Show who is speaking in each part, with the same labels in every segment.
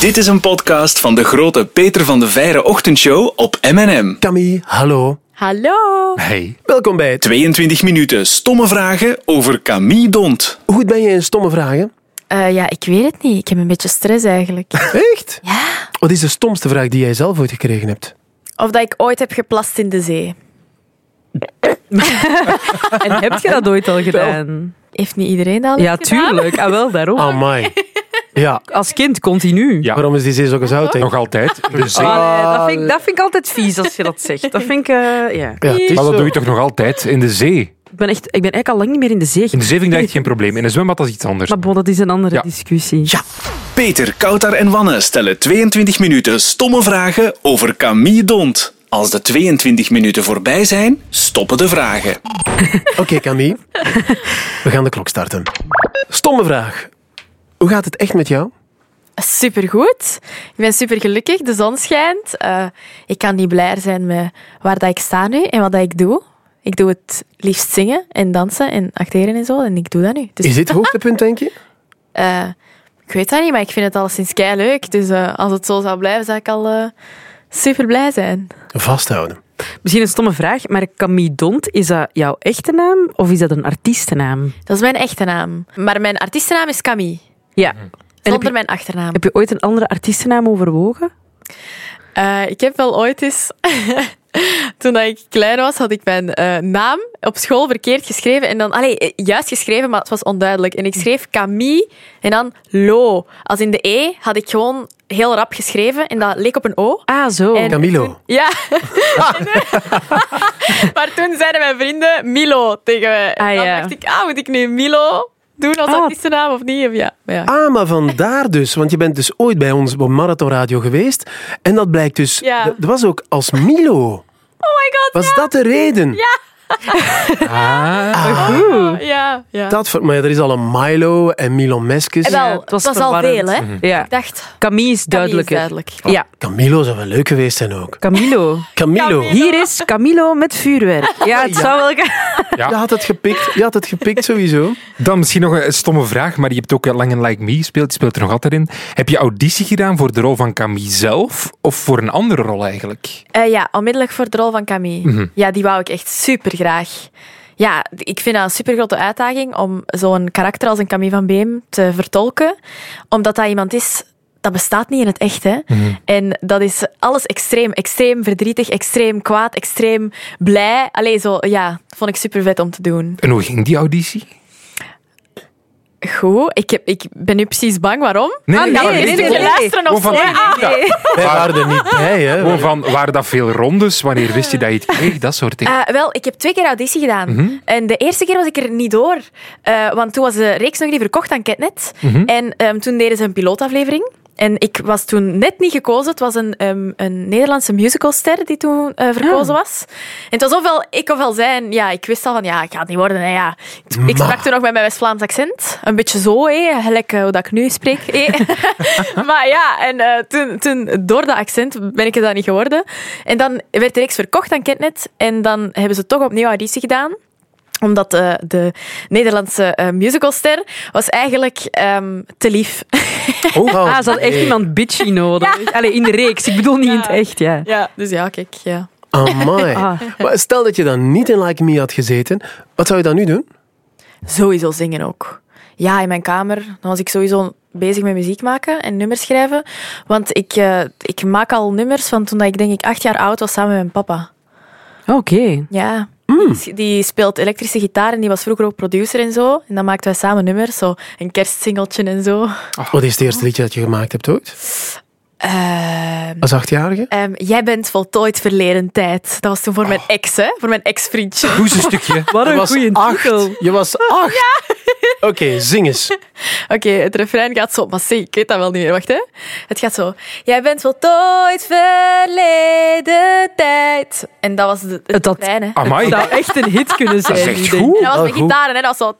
Speaker 1: Dit is een podcast van de grote Peter van de Veire ochtendshow op M&M.
Speaker 2: Camille, hallo.
Speaker 3: Hallo.
Speaker 2: Hey. Welkom bij het...
Speaker 1: 22 minuten stomme vragen over Camille Dont.
Speaker 2: Hoe goed ben je in stomme vragen?
Speaker 3: Eh, ja, ik weet het niet. Ik heb een beetje stress eigenlijk.
Speaker 2: Echt?
Speaker 3: Ja.
Speaker 2: Wat is de stomste vraag die jij zelf ooit gekregen hebt?
Speaker 3: Of dat ik ooit heb geplast in de zee.
Speaker 4: En heb je dat ooit al gedaan?
Speaker 3: Heeft niet iedereen dat al
Speaker 4: Ja,
Speaker 3: gedaan?
Speaker 4: tuurlijk. Ah, wel, daarom.
Speaker 2: Amai. Ja,
Speaker 4: Als kind, continu.
Speaker 5: Ja.
Speaker 2: waarom is die zee zo gezout? hè?
Speaker 5: Nog altijd. Dus ik-
Speaker 4: Allee, dat, vind ik, dat vind ik altijd vies als je dat zegt. Dat vind ik, eh, ja.
Speaker 2: Ja, het is
Speaker 5: maar dat
Speaker 2: zo.
Speaker 5: doe je toch nog altijd in de zee?
Speaker 4: ik, ben echt, ik ben eigenlijk al lang niet meer in de zee.
Speaker 5: In de
Speaker 4: geweest.
Speaker 5: zee vind ik dat echt geen probleem. In een zwembad is iets anders.
Speaker 4: Maar bon, dat is een andere
Speaker 5: Ja.
Speaker 4: discussie.
Speaker 1: Peter, Koutar en Wanne stellen 22 minuten stomme vragen over Camille Dont. Als de 22 minuten voorbij zijn, stoppen de vragen.
Speaker 2: Oké, Camille. We gaan de klok starten. Stomme vraag. Hoe gaat het echt met jou?
Speaker 3: Supergoed. Ik ben supergelukkig. De zon schijnt. Eh, ik kan niet blijer zijn met waar dat ik sta nu en wat dat ik doe. Ik doe het liefst zingen en dansen en acteren en zo. En ik doe dat nu. Dus
Speaker 2: Is dit het hoogtepunt, denk je?
Speaker 3: eh, ik weet dat niet, maar ik vind het alleszins kei leuk. Dus eh, als het zo zou blijven, zou ik al super blij zijn.
Speaker 2: Vasthouden.
Speaker 4: Misschien een stomme vraag, maar Camille Dont, is dat jouw echte naam of is dat een artiestennaam?
Speaker 3: Dat is mijn echte naam. Maar mijn artiestennaam is Camille.
Speaker 5: Hm.
Speaker 4: Ja. En heb,
Speaker 3: Zonder
Speaker 4: je,
Speaker 3: mijn achternaam.
Speaker 4: heb je ooit een andere artiestennaam overwogen?
Speaker 3: Eh, ik heb wel ooit eens... Toen dat ik klein was, had ik mijn eh, naam op school verkeerd geschreven. En dan, allee, eh, juist geschreven, maar het was onduidelijk. En ik schreef Camille en dan Lo. Als in de E had ik gewoon heel rap geschreven en dat leek op een O.
Speaker 4: Ah, zo.
Speaker 3: En-
Speaker 2: Camilo.
Speaker 3: Ja.
Speaker 4: Ah.
Speaker 3: eh, maar toen zeiden mijn vrienden Milo tegen mij. En
Speaker 4: Ah,
Speaker 3: dan
Speaker 4: ja.
Speaker 3: dacht ik, ah, moet ik nu Milo doen als
Speaker 4: Ah. Oh
Speaker 3: artiestennaam of niet? Of ja. Maar ja.
Speaker 2: Ah, maar vandaar dus. Want je bent dus ooit bij ons op Marathon Radio geweest. En dat blijkt dus...
Speaker 3: Ja.
Speaker 2: Dat was ook als Milo.
Speaker 3: Oh my god,
Speaker 2: Was dat de reden?
Speaker 3: ja. Oh, ja, ja.
Speaker 2: Dat, ver- maar ja, er is al een Milo en Milo Meskes.
Speaker 3: Eh, wel,
Speaker 4: Ja,
Speaker 3: het was, al
Speaker 4: verwarrend.
Speaker 3: veel, hè?
Speaker 5: Mhm.
Speaker 4: Ja.
Speaker 3: Ik dacht,
Speaker 4: Camille is duidelijker.
Speaker 3: duidelijk. Oh.
Speaker 4: Ja.
Speaker 2: Camilo zou wel leuk geweest zijn ook.
Speaker 4: Camilo.
Speaker 2: Camilo.
Speaker 4: Hier is Camilo met vuurwerk. Ja, het zou wel... gaan.
Speaker 2: Je had het gepikt, je had het gepikt sowieso.
Speaker 5: Dan misschien nog een stomme vraag, maar je hebt ook eh, Lang en Like Me gespeeld. Je speelt er nog altijd in. Heb je auditie gedaan voor de rol van Camille zelf of voor een andere rol eigenlijk?
Speaker 3: Eh, ja, onmiddellijk voor de rol van Camille.
Speaker 5: Mhm.
Speaker 3: Ja, die wou ik echt super graag. Ja, ik vind dat een super grote uitdaging om zo'n karakter als een Camille van Beem te vertolken. Omdat dat iemand is, dat bestaat niet in het echt. Hè?
Speaker 5: Mhm.
Speaker 3: En dat is alles extreem. Extreem verdrietig, extreem kwaad, extreem blij. Allee, zo, ja, vond ik super vet om te doen.
Speaker 5: En hoe ging die auditie?
Speaker 3: Goed, ik, heb, ik ben nu precies bang waarom. Ah,
Speaker 5: Nee, nee,
Speaker 3: Gaan we
Speaker 4: nee,
Speaker 3: eerst
Speaker 4: nee,
Speaker 3: even
Speaker 4: nee.
Speaker 3: luisteren
Speaker 5: Gewoon
Speaker 3: of
Speaker 5: van,
Speaker 3: zo?
Speaker 5: Ah.
Speaker 4: Ah,
Speaker 5: Ja,
Speaker 2: Wij waren er niet bij, hè.
Speaker 5: gewoon van, waren dat veel rondes? Wanneer wist je dat je het kreeg? Dat soort dingen.
Speaker 3: Eh, wel, ik heb twee keer auditie gedaan. En de eerste keer was ik er niet door. Eh, want toen was de reeks nog niet verkocht aan Ketnet. En ehm, toen deden ze een pilootaflevering. En ik was toen net niet gekozen. Het was een, ehm, een Nederlandse musicalster die toen eh, verkozen was. En het was ofwel ik ofwel zij. En ja, ik wist al van, ja, ik ga het niet worden. hè, ja. Ik- Ik sprak toen nog met mijn West-Vlaams accent. Een beetje zo, hè, gelijk eh, hoe dat ik nu spreek. hè. maar ja, en eh, toen, toen, door dat accent ben ik het dan niet geworden. En dan werd de reeks verkocht aan Kentnet. En dan hebben ze toch opnieuw auditie gedaan omdat eh, de Nederlandse eh, musicalster was eigenlijk ehm, te lief.
Speaker 2: Oh,
Speaker 4: Ah, ze had echt iemand bitchy nodig. Allee, in de reeks. Ik bedoel niet in het echt, ja.
Speaker 3: ja, dus ja, kijk. Ja.
Speaker 2: Amai.
Speaker 4: Ah.
Speaker 2: Maar stel dat je dan niet in Like Me had gezeten, wat zou je dan nu doen?
Speaker 3: Sowieso zingen ook. Ja, in mijn kamer. Dan was ik sowieso bezig met muziek maken en nummers schrijven. Want ik, eh, ik maak al nummers van toen dat ik denk ik acht jaar oud was samen met mijn papa.
Speaker 4: Oké.
Speaker 3: Ja. Die, die speelt elektrische gitaar en die was vroeger ook producer en zo. En dan maakten wij samen nummers, zo een kerstsingeltje en zo.
Speaker 5: Ah.
Speaker 2: Wat is het eerste liedje dat je gemaakt hebt ooit?
Speaker 3: Ehm,
Speaker 2: Als achtjarige?
Speaker 3: ehm, jij bent voltooid verleden tijd. Dat was toen voor mijn ex, hè? Voor mijn ex-vriendje.
Speaker 5: Doe eens een stukje.
Speaker 4: Wat
Speaker 2: Je
Speaker 4: een
Speaker 2: was
Speaker 4: goede
Speaker 2: acht.
Speaker 4: titel.
Speaker 2: Je was acht? Oké, zing eens.
Speaker 3: Oké, het refrein gaat zo. Maar zie, ik weet dat wel niet meer. Wacht, hè. Het gaat zo. Jij bent voltooid verleden tijd. En dat Ah, oh, was de, het
Speaker 4: Het had-
Speaker 3: refrein, hè.
Speaker 4: Het
Speaker 5: Amai.
Speaker 4: zou echt een hit kunnen zijn.
Speaker 5: Dat is
Speaker 4: die
Speaker 5: echt
Speaker 4: ding.
Speaker 5: goed.
Speaker 3: En dat was
Speaker 2: wel
Speaker 3: mijn
Speaker 2: goed.
Speaker 3: gitaar, hè. Dat was zo...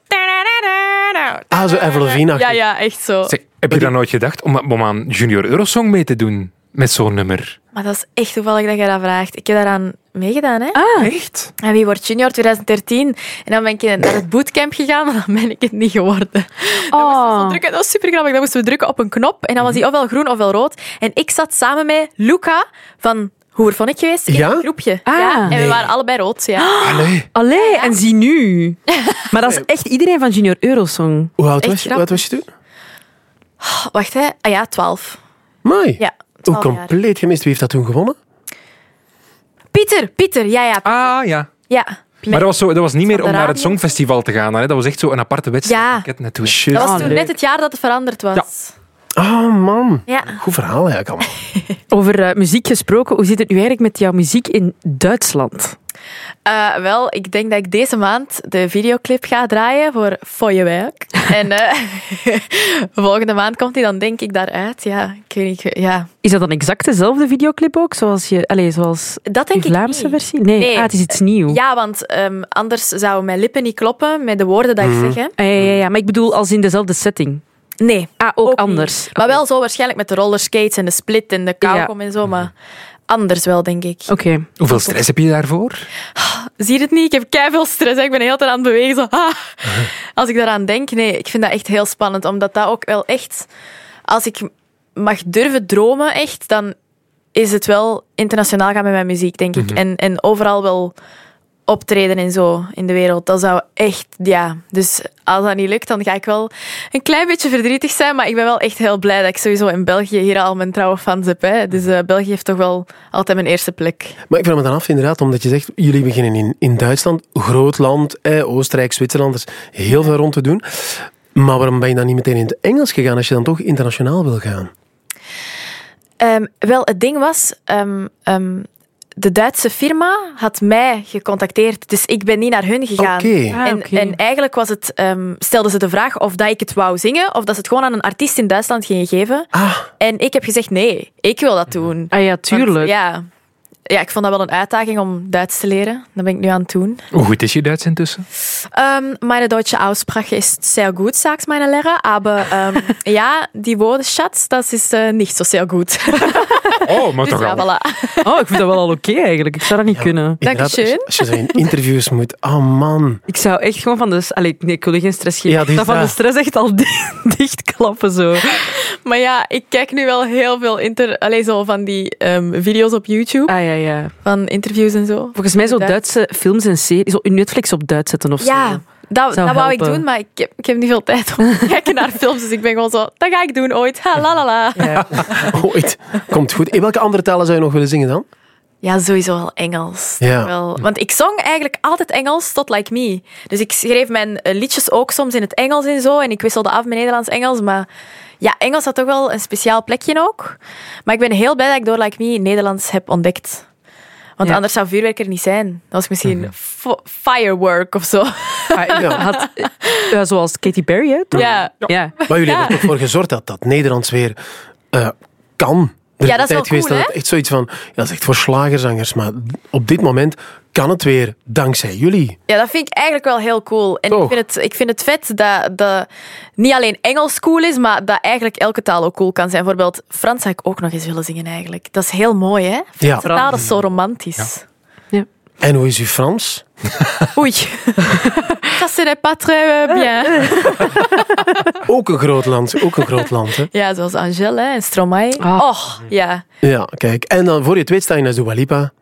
Speaker 2: Ah, zo Avril Lavigne
Speaker 3: Ja, ja, echt zo.
Speaker 5: Zeg, heb je dan nooit gedacht om, om aan Junior Eurosong mee te doen? met zo'n nummer?
Speaker 3: Maar dat is echt toevallig dat je dat vraagt. Ik heb daaraan meegedaan, hè?
Speaker 4: Ah,
Speaker 5: Echt?
Speaker 3: En wie wordt junior 2013? En dan ben ik naar het bootcamp gegaan, maar dan ben ik het niet geworden. Dan moesten we zo
Speaker 4: oh.
Speaker 3: drukken. Dat was super grappig. Dan moesten we drukken op een knop en dan was die ofwel groen ofwel rood. En ik zat samen met Luca van Hoe vond ik geweest in
Speaker 2: Ja?
Speaker 3: een groepje.
Speaker 4: Ah. Oh.
Speaker 3: ja, en
Speaker 2: Nee.
Speaker 3: we waren allebei rood. Ja.
Speaker 2: Allee.
Speaker 4: Allee, en zie nu. Maar dat is echt iedereen van Junior Eurosong.
Speaker 2: Hoe oud
Speaker 3: Echt
Speaker 2: was je, hoe oud was je toen?
Speaker 3: Wacht, hè? Ah ja, 12.
Speaker 2: Mooi.
Speaker 3: Ja,
Speaker 2: Hoe
Speaker 3: 12 jaar.
Speaker 2: compleet gemist. Wie heeft dat toen gewonnen?
Speaker 3: Pieter, Pieter, ja, ja.
Speaker 5: Ah, ja.
Speaker 3: ja.
Speaker 5: Maar dat was, zo, dat was niet meer om
Speaker 3: de
Speaker 5: naar het
Speaker 3: radio.
Speaker 5: Songfestival te gaan. Hè? Dat was echt zo een aparte wedstrijd.
Speaker 3: Ja.
Speaker 5: Ik heb het net toen.
Speaker 2: Shit.
Speaker 3: Dat was
Speaker 4: Ah,
Speaker 3: toen
Speaker 4: leuk.
Speaker 3: net het jaar dat het veranderd was.
Speaker 2: Oh man.
Speaker 3: Ja.
Speaker 2: Goed verhaal eigenlijk allemaal.
Speaker 4: Over eh, muziek gesproken, hoe zit het nu eigenlijk met jouw muziek in Duitsland?
Speaker 3: Eh, wel, ik denk dat ik deze maand de videoclip ga draaien voor Voor je werk. en eh, volgende maand komt die, dan denk ik daaruit. Ja, ik weet niet, ik- ja.
Speaker 4: Is dat dan exact dezelfde videoclip ook, zoals je, allez, zoals
Speaker 3: Dat denk
Speaker 4: de
Speaker 3: ik
Speaker 4: Vlaamse
Speaker 3: niet.
Speaker 4: versie? Nee,
Speaker 3: Nee.
Speaker 4: ah, het is iets nieuws.
Speaker 3: Ja, want ehm, anders zouden mijn lippen niet kloppen met de woorden dat ik zeg. Hè.
Speaker 4: Ah, ja, ja, ja, maar ik bedoel als in dezelfde setting.
Speaker 3: Nee,
Speaker 4: Ah, ook,
Speaker 3: ook niet.
Speaker 4: anders.
Speaker 3: Maar wel zo waarschijnlijk met de rollerskates en de split en de kauwgom en zo. Maar anders wel, denk ik.
Speaker 4: Oké.
Speaker 5: Hoeveel stress heb je daarvoor?
Speaker 3: Zie je het niet? Ik heb keiveel stress. hè. Ik ben de hele tijd aan het bewegen. Zo. ah. Als ik daaraan denk, nee, ik vind dat echt heel spannend. Omdat dat ook wel echt... Als ik mag durven dromen, echt, dan is het wel internationaal gaan met mijn muziek, denk ik. en, en overal wel optreden en zo in de wereld. Dat zou echt, ja. Dus als dat niet lukt, dan ga ik wel een klein beetje verdrietig zijn. Maar ik ben wel echt heel blij dat ik sowieso in België hier al mijn trouwe fans heb. Hè. Dus eh, België heeft toch wel altijd mijn eerste plek.
Speaker 2: Maar ik vraag me dan af, inderdaad, omdat je zegt, jullie beginnen in, in Duitsland, groot land, eh, Oostenrijk, Zwitserland, er is heel veel rond te doen. Maar waarom ben je dan niet meteen in het Engels gegaan als je dan toch internationaal wil gaan?
Speaker 3: Ehm, wel, het ding was, ehm, ehm, de Duitse firma had mij gecontacteerd, dus ik ben niet naar hun
Speaker 2: Oké.
Speaker 3: gegaan.
Speaker 4: Ah,
Speaker 3: En,
Speaker 4: oké.
Speaker 3: en eigenlijk was het, ehm, stelden ze de vraag of dat ik het wou zingen, of dat ze het gewoon aan een artiest in Duitsland gingen geven.
Speaker 2: Ah,
Speaker 3: En ik heb gezegd, nee, ik wil dat doen.
Speaker 4: Ah ja, tuurlijk.
Speaker 3: Want, ja. ja, ik vond dat wel een uitdaging om Duits te leren. Dat ben ik nu aan het doen.
Speaker 5: Hoe goed is je Duits intussen?
Speaker 3: Ähm, meine deutsche Aussprache ist sehr gut, sagt meine Lehrer, aber ähm, ja, die Wortschatz, das ist äh, nicht so sehr gut.
Speaker 5: Oh, maar
Speaker 3: Dus
Speaker 5: toch
Speaker 3: ja,
Speaker 5: wel.
Speaker 3: voilà.
Speaker 4: Oh, ik vind dat wel al oké eigenlijk. Ik zou dat niet kunnen.
Speaker 2: inderdaad,
Speaker 3: Hm. Dankeschön.
Speaker 2: Als, als je zo in interviews moet, oh man.
Speaker 4: Ik zou echt gewoon van de... s- Allee, nee, ik wil je geen stress geven.
Speaker 2: Ja, die is
Speaker 4: dat van
Speaker 2: daar.
Speaker 4: de stress echt al di- dichtklappen zo.
Speaker 3: Maar ja, ik kijk nu wel heel veel inter, allez, zo van die ehm, video's op YouTube,
Speaker 4: Ah ja, ja.
Speaker 3: van interviews en zo.
Speaker 4: Volgens mij zo
Speaker 3: Duits.
Speaker 4: Duitse films en series. Zo in Netflix op Duits zetten of zo.
Speaker 3: Ja, dat,
Speaker 4: Zou
Speaker 3: dat wou ik
Speaker 4: helpen.
Speaker 3: doen, maar ik heb, ik heb niet veel tijd om te kijken naar films. Dus ik ben gewoon zo, dat ga ik doen ooit. Ha, la la la.
Speaker 2: Ooit. Komt goed. In welke andere talen zou je nog willen zingen dan?
Speaker 3: Ja, sowieso wel Engels.
Speaker 2: Ja.
Speaker 3: Wel, want ik zong eigenlijk altijd Engels tot Like Me. Dus ik schreef mijn eh, liedjes ook soms in het Engels en zo. En ik wisselde af met Nederlands-Engels. Maar ja, Engels had toch wel een speciaal plekje ook. Maar ik ben heel blij dat ik door Like Me Nederlands heb ontdekt. Want
Speaker 4: Ja.
Speaker 3: anders zou vuurwerk er niet zijn. Dat was misschien fo- firework of zo.
Speaker 4: Ah,
Speaker 2: Ja.
Speaker 4: Had, eh, eh, zoals Katy Perry, hè? toch?
Speaker 3: Ja.
Speaker 4: Ja.
Speaker 2: Maar jullie
Speaker 3: Ja.
Speaker 2: hebben er toch voor gezorgd dat dat Nederlands weer eh, kan. Er
Speaker 3: Ja,
Speaker 2: een
Speaker 3: dat is wel
Speaker 2: tijd geweest dat
Speaker 3: cool, hè?
Speaker 2: het echt zoiets van, ja, dat is echt voor slagerzangers, maar op dit moment kan het weer dankzij jullie.
Speaker 3: Ja, dat vind ik eigenlijk wel heel cool. En
Speaker 2: Toch?
Speaker 3: ik vind, het, ik vind het vet dat, dat niet alleen Engels cool is, maar dat eigenlijk elke taal ook cool kan zijn. Bijvoorbeeld Frans zou ik ook nog eens willen zingen eigenlijk. Dat is heel mooi, hè?
Speaker 2: Ja.
Speaker 3: Franse taal is zo romantisch.
Speaker 2: En hoe is uw Frans?
Speaker 3: Oei. Ça serait pas très eh, bien.
Speaker 2: Ook een groot land, ook een groot land. Hè?
Speaker 3: Ja, zoals Angèle hè, en Stromae.
Speaker 4: Ah.
Speaker 3: Och, ja.
Speaker 2: Ja, kijk. En dan voor je het weet sta je naast Dua Lipa.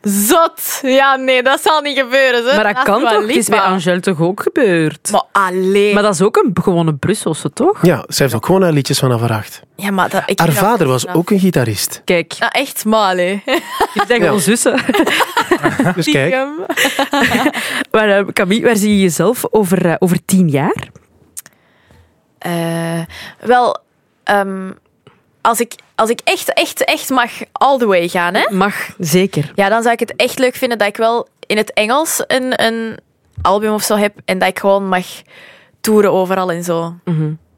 Speaker 3: Zot. Ja, nee, dat zal niet gebeuren. Zo.
Speaker 4: Maar dat kan toch? Het is bij Angèle toch ook gebeurd?
Speaker 3: Maar alleen.
Speaker 4: Maar dat is ook een gewone Brusselse, toch?
Speaker 2: Ja, zij heeft ook gewoon haar liedjes vanaf haar acht.
Speaker 3: ja, maar dat, ik
Speaker 2: Haar
Speaker 3: vind dat-
Speaker 2: vader was ook een gitarist.
Speaker 4: Kijk,
Speaker 3: Nou, echt mal, hè.
Speaker 4: die zijn gewoon zussen.
Speaker 2: Dus kijk,
Speaker 4: Maar eh, Camille, waar zie je jezelf over, eh, over tien jaar?
Speaker 3: Eh, wel, ehm, als, ik, als ik echt, echt, echt mag all the way gaan, hè,
Speaker 4: Mag, zeker.
Speaker 3: ja, dan zou ik het echt leuk vinden dat ik wel in het Engels een, een album of zo heb en dat ik gewoon mag toeren overal en zo.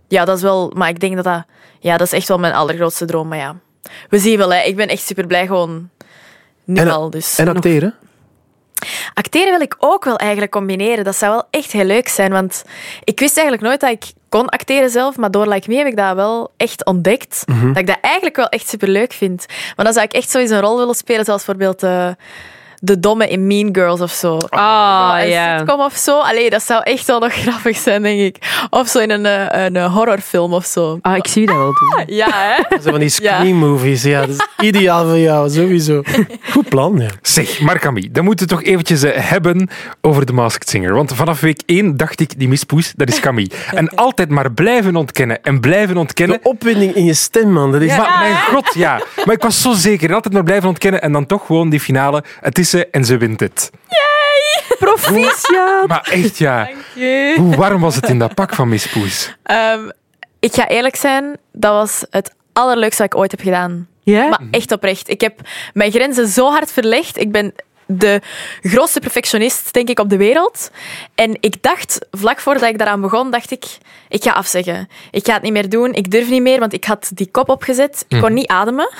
Speaker 3: Ja, dat is wel, maar ik denk dat dat, ja, dat is echt wel mijn allergrootste droom. Maar ja, we zien wel, hè. ik ben echt super blij gewoon nu
Speaker 2: En-
Speaker 3: al. Dus.
Speaker 2: en acteren.
Speaker 3: Acteren wil ik ook wel eigenlijk combineren. Dat zou wel echt heel leuk zijn, want ik wist eigenlijk nooit dat ik kon acteren zelf, maar door Like Me heb ik dat wel echt ontdekt.
Speaker 4: Mhm.
Speaker 3: Dat ik dat eigenlijk wel echt superleuk vind. Maar dan zou ik echt sowieso een rol willen spelen, zoals bijvoorbeeld eh, de domme in Mean Girls of zo.
Speaker 4: Ah,
Speaker 3: een
Speaker 4: ja.
Speaker 3: sitcom of zo. Allee, dat zou echt wel nog grappig zijn, denk ik. Of zo in een, eh, een eh, horrorfilm of zo.
Speaker 4: Ah, ik zie dat wel doen.
Speaker 3: Ja, hè?
Speaker 2: Dat zijn van die
Speaker 3: Ja.
Speaker 2: screenmovies. Ja. dat is ideaal voor jou, sowieso. Goed plan, ja.
Speaker 5: Zeg, Markami, dan moeten we toch eventjes eh, hebben over The Masked Singer. Want vanaf week 1 dacht ik, die mispoes, dat is Camille. En altijd maar blijven ontkennen en blijven ontkennen.
Speaker 2: De opwinding in je stem, man. Dat is
Speaker 5: Maar mijn god, ja. Maar ik was zo zeker. En altijd maar blijven ontkennen en dan toch gewoon die finale. Het is ze en ze wint het.
Speaker 4: Proficiat.
Speaker 5: Maar echt, ja. Hoe warm was het in dat pak van mispoes?
Speaker 3: Ehm, ik ga eerlijk zijn, dat was het allerleukste wat ik ooit heb gedaan.
Speaker 4: Ja?
Speaker 3: Maar echt oprecht. Ik heb mijn grenzen zo hard verlegd. Ik ben de grootste perfectionist, denk ik, op de wereld. En ik dacht, vlak voordat ik daaraan begon, dacht ik, ik ga afzeggen. Ik ga het niet meer doen, ik durf niet meer, want ik had die kop opgezet. Ik kon niet ademen.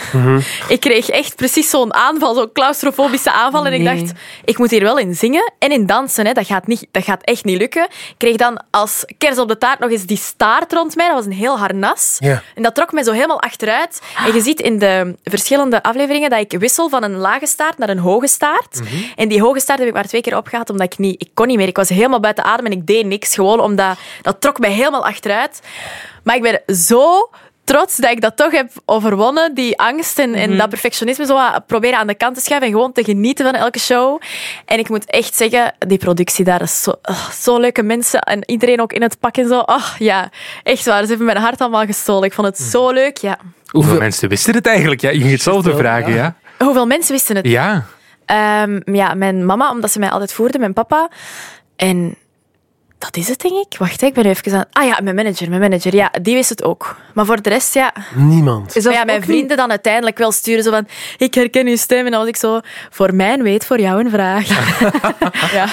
Speaker 3: Ik kreeg echt precies zo'n aanval, zo'n claustrofobische aanval. En ik
Speaker 4: Nee.
Speaker 3: dacht, ik moet hier wel in zingen en in dansen. Hè. Dat, gaat niet, dat gaat echt niet lukken. Ik kreeg dan als kers op de taart nog eens die staart rond mij. Dat was een heel harnas.
Speaker 2: Ja.
Speaker 3: En dat trok mij zo helemaal achteruit. En je ziet in de verschillende afleveringen dat ik wissel van een lage staart naar een hoge staart. En die hoge staart heb ik maar twee keer opgehaald, omdat ik niet... Ik kon niet meer. Ik was helemaal buiten adem en ik deed niks. Gewoon omdat... Dat trok mij helemaal achteruit. Maar ik ben zo trots dat ik dat toch heb overwonnen. Die angst en, en dat perfectionisme zo wat proberen aan de kant te schuiven. En gewoon te genieten van elke show. En ik moet echt zeggen, die productie daar is zo, ah, zo leuke mensen. En iedereen ook in het pak en zo. Ach ja, echt waar. Ze hebben mijn hart allemaal gestolen. Ik vond het zo leuk. Ja.
Speaker 5: Hoeveel mensen wisten het eigenlijk? Ja, je ging hetzelfde vragen, ja.
Speaker 3: Hoeveel mensen wisten het?
Speaker 5: Ja.
Speaker 3: Ehm, ja, mijn mama, omdat ze mij altijd voerde, mijn papa. En dat is het, denk ik. Wacht, hè, ik ben nu even aan... Ah ja, mijn manager, mijn manager. Ja, die wist het ook. Maar voor de rest, ja...
Speaker 2: niemand.
Speaker 4: Is dat
Speaker 3: Maar ja, mijn
Speaker 4: ook niet-
Speaker 3: vrienden dan uiteindelijk wel sturen zo van ik herken uw stem en dan was ik zo voor mijn weet voor jou een vraag. ja.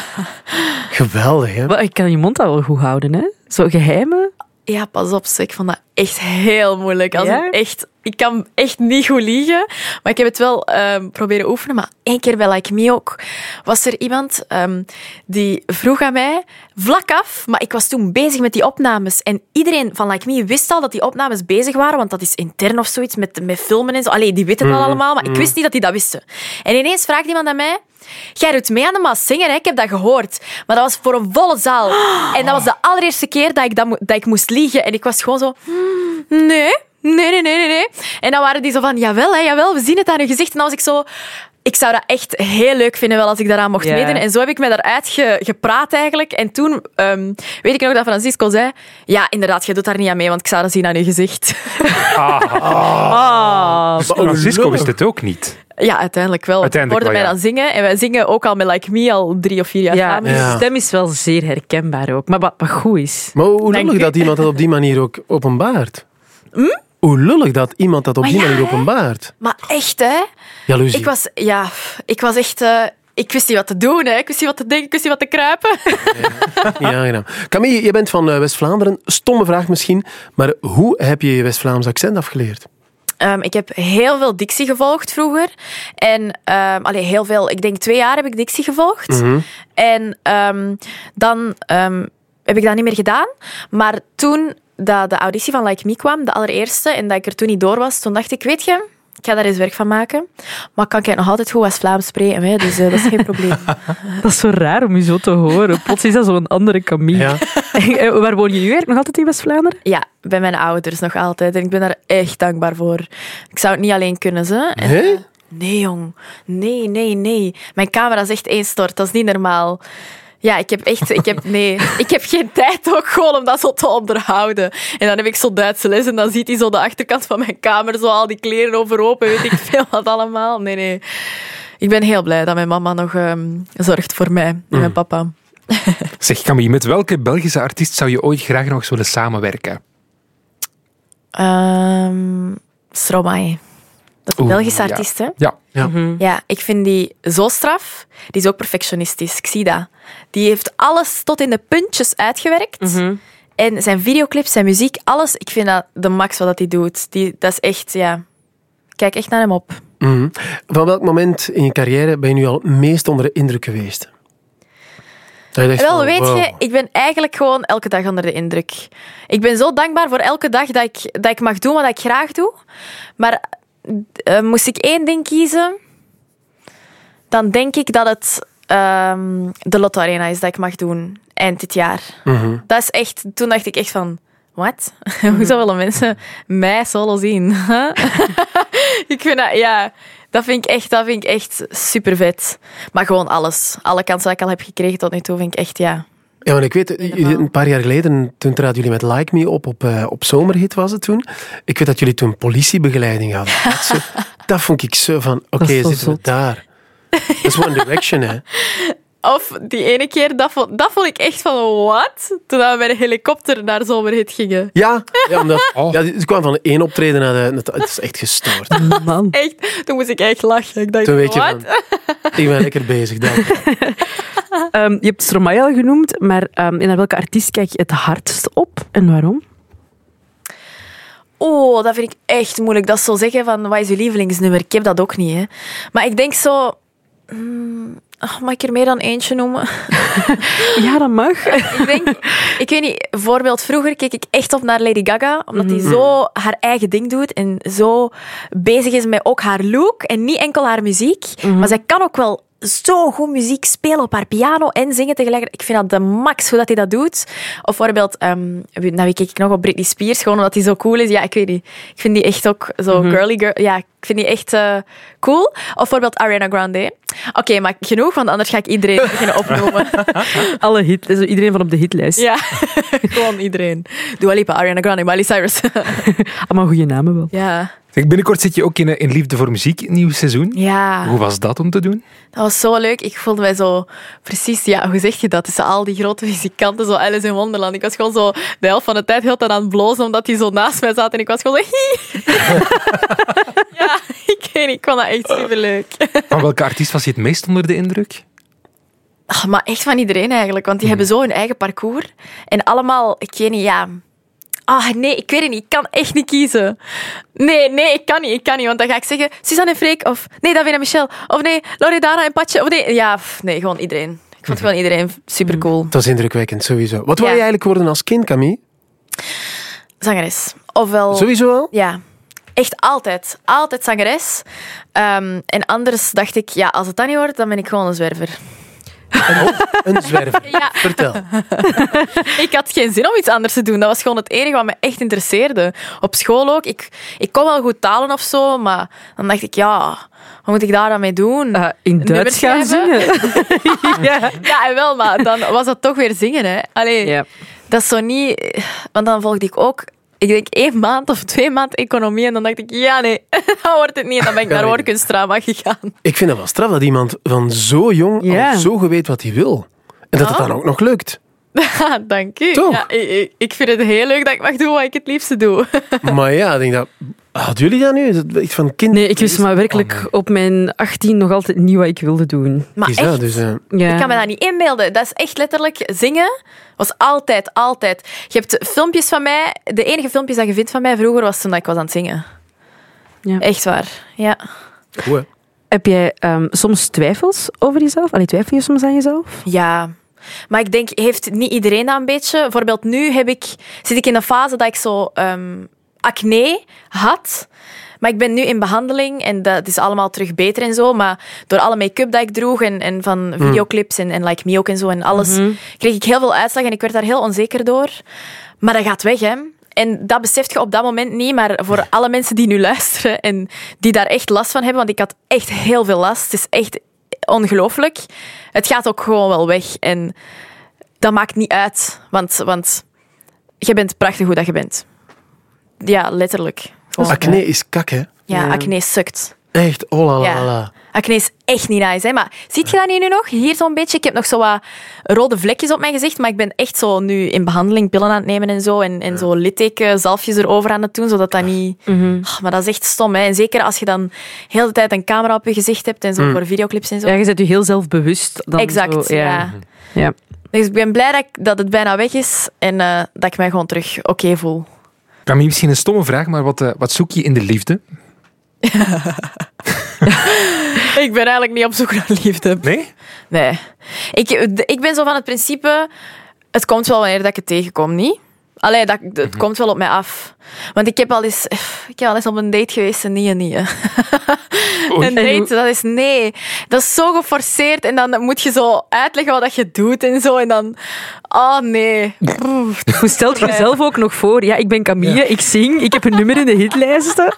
Speaker 2: Geweldig, hè?
Speaker 4: Wel, Ik kan je mond al wel goed houden, hè? Zo geheimen.
Speaker 3: ja, pas op, zeg. ik vond dat echt heel moeilijk. Als
Speaker 4: Ja?
Speaker 3: in echt, ik kan echt niet goed liegen, maar ik heb het wel ehm, proberen oefenen. Maar één keer bij Like Me ook was er iemand ehm, die vroeg aan mij vlak af, maar ik was toen bezig met die opnames en iedereen van Like Me wist al dat die opnames bezig waren, want dat is intern of zoiets met, met filmen en zo. Allee, die weten het al allemaal, maar ik wist niet dat die dat wisten. En ineens vraagt iemand aan mij. Jij doet mee aan de Maas Singer, hè? ik heb dat gehoord. Maar dat was voor een volle zaal. En dat was de allereerste keer dat ik, dat, mo- dat ik moest liegen. En ik was gewoon zo... "Hmm, Nee, nee, nee, nee, nee. nee." En dan waren die zo van... Jawel, hè, jawel, we zien het aan je gezicht. En dan was ik zo... Ik zou dat echt heel leuk vinden wel als ik daaraan mocht
Speaker 4: Ja.
Speaker 3: meedoen. En zo heb ik me daaruit ge- gepraat eigenlijk. En toen ehm, weet ik nog dat Francisco zei... Ja, inderdaad, jij doet daar niet aan mee, want ik zou dat zien aan je gezicht.
Speaker 4: Ah,
Speaker 5: Francisco
Speaker 2: lullig.
Speaker 5: wist het ook niet.
Speaker 3: ja, uiteindelijk wel.
Speaker 5: Uiteindelijk
Speaker 3: Hoorden
Speaker 5: wel,
Speaker 3: mij
Speaker 5: ja.
Speaker 3: dan zingen. En wij zingen ook al met Like Me al drie of vier jaar
Speaker 4: ja,
Speaker 3: samen.
Speaker 4: je
Speaker 2: Ja.
Speaker 4: stem is wel zeer herkenbaar ook. Maar wat, wat goed is.
Speaker 2: Maar hoe lullig
Speaker 3: Dank u.
Speaker 2: dat iemand dat op die manier ook openbaart. Hoe lullig dat iemand dat op
Speaker 3: Hm? Maar
Speaker 2: die
Speaker 3: ja,
Speaker 2: manier
Speaker 3: hè?
Speaker 2: openbaart.
Speaker 3: Maar echt, hè?
Speaker 2: Jaloezie.
Speaker 3: Ik was, ja, ik was echt. eh, ik wist niet wat te doen, hè? Ik wist niet wat te denken, ik wist niet wat te kruipen.
Speaker 2: Ja, aangenaam. Camille, je bent van eh, West-Vlaanderen. Stomme vraag misschien, maar hoe heb je je West-Vlaams accent afgeleerd?
Speaker 3: Ehm, ik heb heel veel dictie gevolgd vroeger. En ehm allee, heel veel, ik denk twee jaar heb ik dictie gevolgd. En ehm, dan ehm, heb ik dat niet meer gedaan. Maar toen dat de auditie van Like Me kwam, de allereerste, en dat ik er toen niet door was, toen dacht ik, weet je, ik ga daar eens werk van maken. Maar kan ik nog altijd goed als Vlaams spreken, hè? dus eh, dat is geen probleem.
Speaker 4: Dat is zo raar om je zo te horen. Plots is dat zo'n andere Camille.
Speaker 2: Ja.
Speaker 4: Eh, Waar woon je nu eigenlijk? Nog altijd in West-Vlaanderen?
Speaker 3: Ja, bij mijn ouders nog altijd. En ik ben daar echt dankbaar voor. Ik zou het niet alleen kunnen, ze. En-
Speaker 2: Hè?
Speaker 3: Nee, jong. Nee, nee, nee. Mijn camera is echt één stort. Dat is niet normaal. Ja, ik heb echt... Ik heb, nee, ik heb geen tijd ook gewoon om dat zo te onderhouden. En dan heb ik zo Duitse les en dan ziet hij zo de achterkant van mijn kamer, zo al die kleren overopen, weet ik veel wat allemaal. Nee, nee. Ik ben heel blij dat mijn mama nog ehm, zorgt voor mij en
Speaker 5: Mm.
Speaker 3: mijn papa.
Speaker 5: Zeg, Camille, met welke Belgische artiest zou je ooit graag nog eens willen samenwerken?
Speaker 3: Ehm Stromae. Dat is een
Speaker 5: Oeh,
Speaker 3: Belgische
Speaker 5: ja.
Speaker 3: artiest, hè?
Speaker 5: Ja.
Speaker 3: Ja, ik vind die zo straf. Die is ook perfectionistisch. Ik zie dat. Die heeft alles tot in de puntjes uitgewerkt. En zijn videoclips, zijn muziek, alles. Ik vind dat de max wat dat hij doet. Die, dat is echt, ja... Ik Kijk echt naar hem op.
Speaker 2: Mhm. Van welk moment in je carrière ben je nu al het meest onder de indruk geweest? Dat je dacht
Speaker 3: Wel,
Speaker 2: van,
Speaker 3: weet
Speaker 2: wauw.
Speaker 3: je, ik ben eigenlijk gewoon elke dag onder de indruk. Ik ben zo dankbaar voor elke dag dat ik, dat ik mag doen wat ik graag doe. Maar eh, moest ik één ding kiezen, dan denk ik dat het ehm, de Lotto Arena is dat ik mag doen eind dit jaar.
Speaker 2: Mhm.
Speaker 3: Dat is echt, toen dacht ik echt van, wat? Hoezo willen mensen mij solo zien? ik vind dat, ja, dat vind ik echt, dat vind ik echt super vet. Maar gewoon alles. Alle kansen die ik al heb gekregen tot nu toe, vind ik echt, ja.
Speaker 2: Ja, want ik weet, jullie- een paar jaar geleden, toen traden jullie met Like Me op, op, eh, op Zomerhit was het toen. Ik weet dat jullie toen politiebegeleiding hadden. Dat, zo- dat vond ik zo van, oké,
Speaker 4: is zo
Speaker 2: zitten we
Speaker 4: zot.
Speaker 2: daar. Dat is One Direction, hè.
Speaker 3: Of die ene keer, dat vond, dat vond ik echt van, wat? Toen we met een helikopter naar Zomerhit gingen.
Speaker 2: Ja, ja, omdat,
Speaker 5: Oh.
Speaker 2: ja ze kwam van één optreden naar de... Het is echt gestoord.
Speaker 4: Man.
Speaker 3: Echt, toen moest ik echt lachen. Ik dacht,
Speaker 2: Toen weet je
Speaker 3: wat?
Speaker 2: van, ik ben lekker bezig. dank.
Speaker 4: Ehm, je hebt Stromae al genoemd, maar ehm, naar welke artiest kijk je het hardst op en waarom?
Speaker 3: Oh, dat vind ik echt moeilijk. Dat is zo zeggen van, wat is je lievelingsnummer? Ik heb dat ook niet, hè. Maar ik denk zo... hmm, oh, mag ik er meer dan eentje noemen?
Speaker 4: Ja, dat mag.
Speaker 3: ik denk... Ik weet niet, bijvoorbeeld vroeger keek ik echt op naar Lady Gaga, omdat die zo haar eigen ding doet en zo bezig is met ook haar look en niet enkel haar muziek. Maar zij kan ook wel zo goed muziek spelen op haar piano en zingen tegelijkertijd. Ik vind dat de max hoe dat hij dat doet. Of bijvoorbeeld, ehm wie- naar wie keek ik nog op Britney Spears, gewoon omdat hij zo cool is. Ja, ik weet niet. Ik vind die echt ook zo girly girl. Ja, ik vind die echt eh, cool. Of bijvoorbeeld Ariana Grande. Oké, maar genoeg, want anders ga ik iedereen beginnen opnoemen.
Speaker 4: Alle hit, dus iedereen van op de hitlijst.
Speaker 3: Ja, gewoon iedereen. Dua Lipa, Ariana Grande, Miley Cyrus.
Speaker 4: Allemaal goede namen wel.
Speaker 3: ja.
Speaker 5: Zeg, binnenkort zit je ook in, eh, in Liefde voor Muziek, een nieuw seizoen.
Speaker 3: ja,
Speaker 5: Hoe was dat om te doen?
Speaker 3: dat was zo leuk. Ik voelde mij zo precies, ja, hoe zeg je dat? Tussen al die grote muzikanten, zo Alice in Wonderland. Ik was gewoon zo de helft van de tijd heel de tijd aan het blozen, omdat die zo naast mij zat. En ik was gewoon zo, "Hie." ja, ik weet niet, ik vond dat echt superleuk.
Speaker 5: Van welke artiest was je het meest onder de indruk?
Speaker 3: Ah, maar echt van iedereen eigenlijk, want die hebben zo hun eigen parcours. En allemaal, ik weet niet, ja... Ah, nee, ik weet het niet. Ik kan echt niet kiezen. Nee, nee, ik kan niet. Ik kan niet, want dan ga ik zeggen Suzanne en Freek of nee, Davina en Michel of nee, Loredana en Patje of nee... Ja, pff, nee, gewoon iedereen. Ik vond gewoon iedereen supercool.
Speaker 2: Dat is indrukwekkend, sowieso. Wat wil
Speaker 3: Ja.
Speaker 2: je eigenlijk worden als kind, Camille?
Speaker 3: Zangeres. Ofwel...
Speaker 2: Sowieso al?
Speaker 3: Ja. Echt altijd. Altijd zangeres. Ehm, en anders dacht ik, ja, als het dan niet wordt, dan ben ik gewoon een zwerver.
Speaker 2: Een zwerver.
Speaker 3: Ja.
Speaker 2: Vertel.
Speaker 3: Ik had geen zin om iets anders te doen. Dat was gewoon het enige wat me echt interesseerde. Op school ook. Ik, ik kon wel goed talen of zo, maar dan dacht ik, ja, wat moet ik daar dan mee doen?
Speaker 4: Eh, in Duits gaan
Speaker 3: schrijven?
Speaker 4: zingen. ja.
Speaker 3: Ja, en wel, maar dan was dat toch weer zingen, hè? Allee,
Speaker 4: ja.
Speaker 3: dat is zo niet... Want dan volgde ik ook, ik denk, één maand of twee maand economie. En dan dacht ik, ja, nee, dat wordt het niet. En dan ben ik
Speaker 2: Kan
Speaker 3: naar
Speaker 2: niet.
Speaker 3: woordkunstdrama gegaan.
Speaker 2: Ik vind dat wel straf dat iemand van zo jong
Speaker 4: Ja.
Speaker 2: al zo goed weet wat hij wil. En dat het
Speaker 3: Ja.
Speaker 2: dan ook nog lukt.
Speaker 3: Ja, Ah, dank u.
Speaker 2: Toch?
Speaker 3: Ja, ik, ik- ik vind het heel leuk dat ik mag doen wat ik het liefste doe.
Speaker 2: Maar ja, ik denk dat... Hadden jullie dat nu? Is het iets van kind?
Speaker 4: Nee, ik wist maar werkelijk op mijn 18 nog altijd niet wat ik wilde doen.
Speaker 3: Maar
Speaker 2: Is
Speaker 3: echt,
Speaker 2: dat dus... eh,
Speaker 4: Ja.
Speaker 3: Ik kan me dat niet inbeelden. Dat is echt letterlijk zingen. Was altijd, altijd. Je hebt filmpjes van mij. De enige filmpjes dat je vindt van mij vroeger was toen dat ik was aan het zingen.
Speaker 4: Ja.
Speaker 3: Echt waar. Ja.
Speaker 2: goed, hè.
Speaker 4: Heb jij ehm, soms twijfels over jezelf? Allee, twijfel je soms aan jezelf?
Speaker 3: ja. Maar ik denk, heeft niet iedereen dat een beetje? Bijvoorbeeld nu heb ik, zit ik in een fase dat ik zo ehm, acne had. Maar ik ben nu in behandeling en dat is allemaal terug beter en zo. Maar door alle make-up dat ik droeg en, en van videoclips en, en Like Me ook en zo en alles, kreeg ik heel veel uitslag en ik werd daar heel onzeker door. Maar dat gaat weg, hè. En dat beseft je op dat moment niet, maar voor alle mensen die nu luisteren en die daar echt last van hebben, want ik had echt heel veel last. Het is echt ongelooflijk. Het gaat ook gewoon wel weg en dat maakt niet uit, want, want je bent prachtig hoe dat je bent. Ja, letterlijk. Gewoon.
Speaker 2: Acne is kak, hè?
Speaker 3: Ja,
Speaker 4: Ja.
Speaker 3: acne sukt.
Speaker 2: Echt, oh la la
Speaker 3: Ja.
Speaker 2: la.
Speaker 3: Acne is echt niet nice, hè. Maar ziet je dat niet nu nog? Hier zo'n beetje. Ik heb nog zo wat rode vlekjes op mijn gezicht, maar ik ben echt zo nu in behandeling pillen aan het nemen en zo. En, en zo litteken, zalfjes erover aan het doen, zodat dat niet... Ah, maar dat is echt stom, hè. En zeker als je dan heel de hele tijd een camera op je gezicht hebt en zo voor videoclips en zo.
Speaker 4: Ja, je bent je heel zelfbewust. Dan
Speaker 3: exact,
Speaker 4: zo,
Speaker 3: ja.
Speaker 4: Ja.
Speaker 3: Dus ik ben blij dat, ik- dat het bijna weg is en eh, dat ik mij gewoon terug oké voel.
Speaker 5: Camille, misschien een stomme vraag, maar wat, eh, wat zoek je in de liefde?
Speaker 3: Ik ben eigenlijk niet op zoek naar liefde.
Speaker 5: Nee?
Speaker 3: Nee. Ik, ik ben zo van het principe... Het komt wel wanneer dat ik het tegenkom, niet? Allee, dat, het
Speaker 4: Mhm.
Speaker 3: komt wel op mij af. Want ik heb al eens, ik heb al eens op een date geweest en nee en nee. hè. Een
Speaker 4: En
Speaker 3: date,
Speaker 4: hoe-
Speaker 3: dat is nee. Dat is zo geforceerd en dan moet je zo uitleggen wat dat je doet en zo. En dan, oh nee.
Speaker 4: Hoe stelt je jezelf ook nog voor? Ja, ik ben Camille, ik zing, ik heb een nummer in de hitlijsten.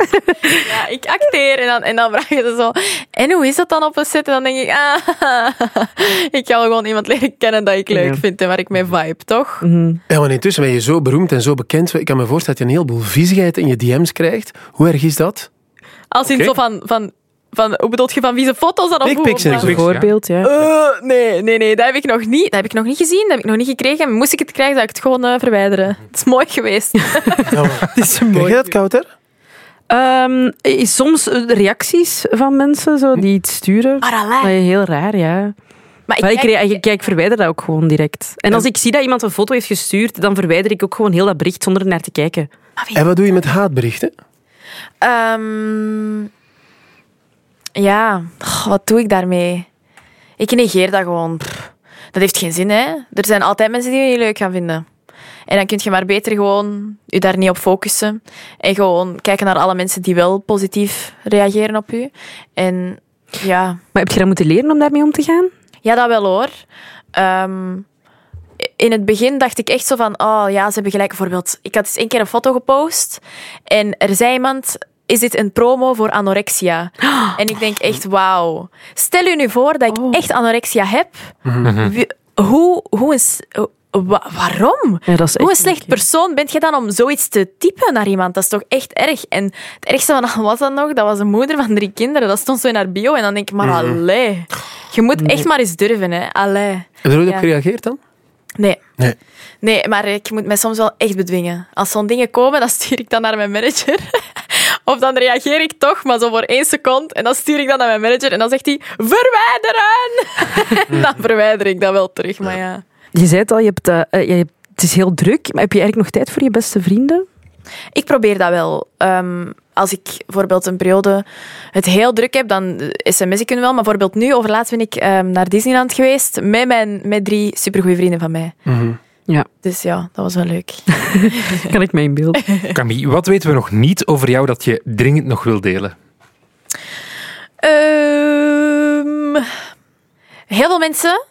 Speaker 3: Ja, ik acteer en dan, en dan vraag je ze zo. En hoe is dat dan op een set? En dan denk ik, ah, ik ga wel gewoon iemand leren kennen dat ik leuk
Speaker 4: Ja. Mhm.
Speaker 3: vind en waar ik mee vibe, toch?
Speaker 2: Ja, maar intussen ben je zo beroemd en zo bekend. Ik kan me voorstellen dat je een heleboel viezigheid in je DM's krijgt. Hoe erg is dat?
Speaker 3: Als in
Speaker 5: Oké.
Speaker 3: zo van, van, van, hoe bedoel je, van wie ze foto's dan of hoe?
Speaker 2: Dickpics en zo.
Speaker 4: Bijvoorbeeld, ja.
Speaker 3: Eh, nee, nee, nee, dat heb ik nog niet. Dat heb ik nog niet gezien, dat heb ik nog niet gekregen. Moest ik het krijgen, zou ik het gewoon eh, verwijderen. Het is mooi geweest.
Speaker 2: Het is mooi. Krijg je dat kouder?
Speaker 4: Ehm, eh, soms eh, reacties van mensen zo, die iets sturen. Dat is heel raar, ja.
Speaker 3: Maar
Speaker 4: Maar ik,
Speaker 3: Ah, kijk-
Speaker 4: re- ik, kijk, verwijder dat ook gewoon direct. En als ik zie dat iemand een foto heeft gestuurd, dan verwijder ik ook gewoon heel dat bericht zonder naar te kijken.
Speaker 2: En wat doe je met haatberichten?
Speaker 3: Ehm, ja, Goh, wat doe ik daarmee? Ik negeer dat gewoon. Pff, dat heeft geen zin, hè? Er zijn altijd mensen die je niet leuk gaan vinden. En dan kun je maar beter gewoon je daar niet op focussen. En gewoon kijken naar alle mensen die wel positief reageren op je. En ja,
Speaker 4: Maar heb je dat moeten leren om daarmee om te gaan?
Speaker 3: ja dat wel hoor. Ehm, in het begin dacht ik echt zo van, oh ja, ze hebben gelijk. Bijvoorbeeld, ik had eens één keer een foto gepost en er zei iemand, is dit een promo voor anorexia? En ik denk echt, wauw. Stel u nu voor dat ik
Speaker 4: Oh.
Speaker 3: echt anorexia heb.
Speaker 4: Mhm.
Speaker 3: Wie- hoe, hoe een... s- wa- waarom?
Speaker 4: Ja, dat is
Speaker 3: Hoe een
Speaker 4: echt
Speaker 3: slecht
Speaker 4: moeilijk,
Speaker 3: persoon bent je dan om zoiets te typen naar iemand? Dat is toch echt erg? En het ergste van al was dat nog, dat was een moeder van drie kinderen. Dat stond zo in haar bio. En dan denk ik, maar allee. Je moet echt maar eens durven, hè. Allee.
Speaker 2: Heb je er ooit op
Speaker 3: Ja.
Speaker 2: gereageerd dan?
Speaker 3: Nee.
Speaker 2: Nee.
Speaker 3: Nee, maar ik moet mij soms wel echt bedwingen. Als zo'n dingen komen, dan stuur ik dat naar mijn manager. Of dan reageer ik toch, maar zo voor één seconde. En dan stuur ik dat naar mijn manager. En dan zegt hij, verwijderen! en dan verwijder ik dat wel terug. Maar ja.
Speaker 4: Je zei het al, je hebt, eh, eh, je hebt- het is heel druk, maar heb je eigenlijk nog tijd voor je beste vrienden?
Speaker 3: Ik probeer dat wel. Ehm, als ik bijvoorbeeld een periode het heel druk heb, dan eh, sms ik hun wel. Maar bijvoorbeeld nu, overlaatst ben ik ehm, naar Disneyland geweest met, mijn, met drie supergoeie vrienden van mij.
Speaker 4: Ja,
Speaker 3: Dus ja, dat was wel leuk.
Speaker 4: kan ik mij inbeelden.
Speaker 5: Camille, wat weten we nog niet over jou dat je dringend nog wil delen?
Speaker 3: Ehm, heel veel mensen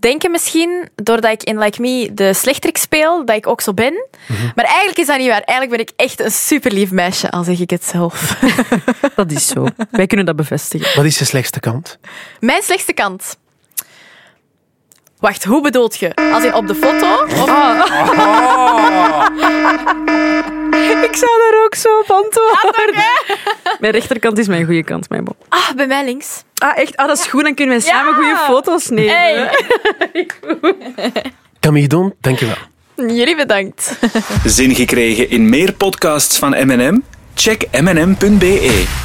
Speaker 3: denken misschien, doordat ik in Like Me de slechterik speel, dat ik ook zo ben. Maar eigenlijk is dat niet waar. Eigenlijk ben ik echt een superlief meisje, al zeg ik het zelf.
Speaker 4: Dat is zo. Wij kunnen dat bevestigen.
Speaker 2: Wat is je slechtste kant?
Speaker 3: Mijn slechtste kant. Wacht, hoe bedoelt je? Als in op de foto? Of...
Speaker 4: Ik zou daar ook zo op antwoorden. Mijn rechterkant is mijn goede kant, mijn Bob.
Speaker 3: Ah, bij mij links.
Speaker 4: Ah, echt? Ah, dat is goed. Dan kunnen we samen goede foto's nemen.
Speaker 3: Hey,
Speaker 2: Camille Don, dankjewel.
Speaker 3: jullie bedankt.
Speaker 1: Zin gekregen in meer podcasts van M&M? Check mnm.be.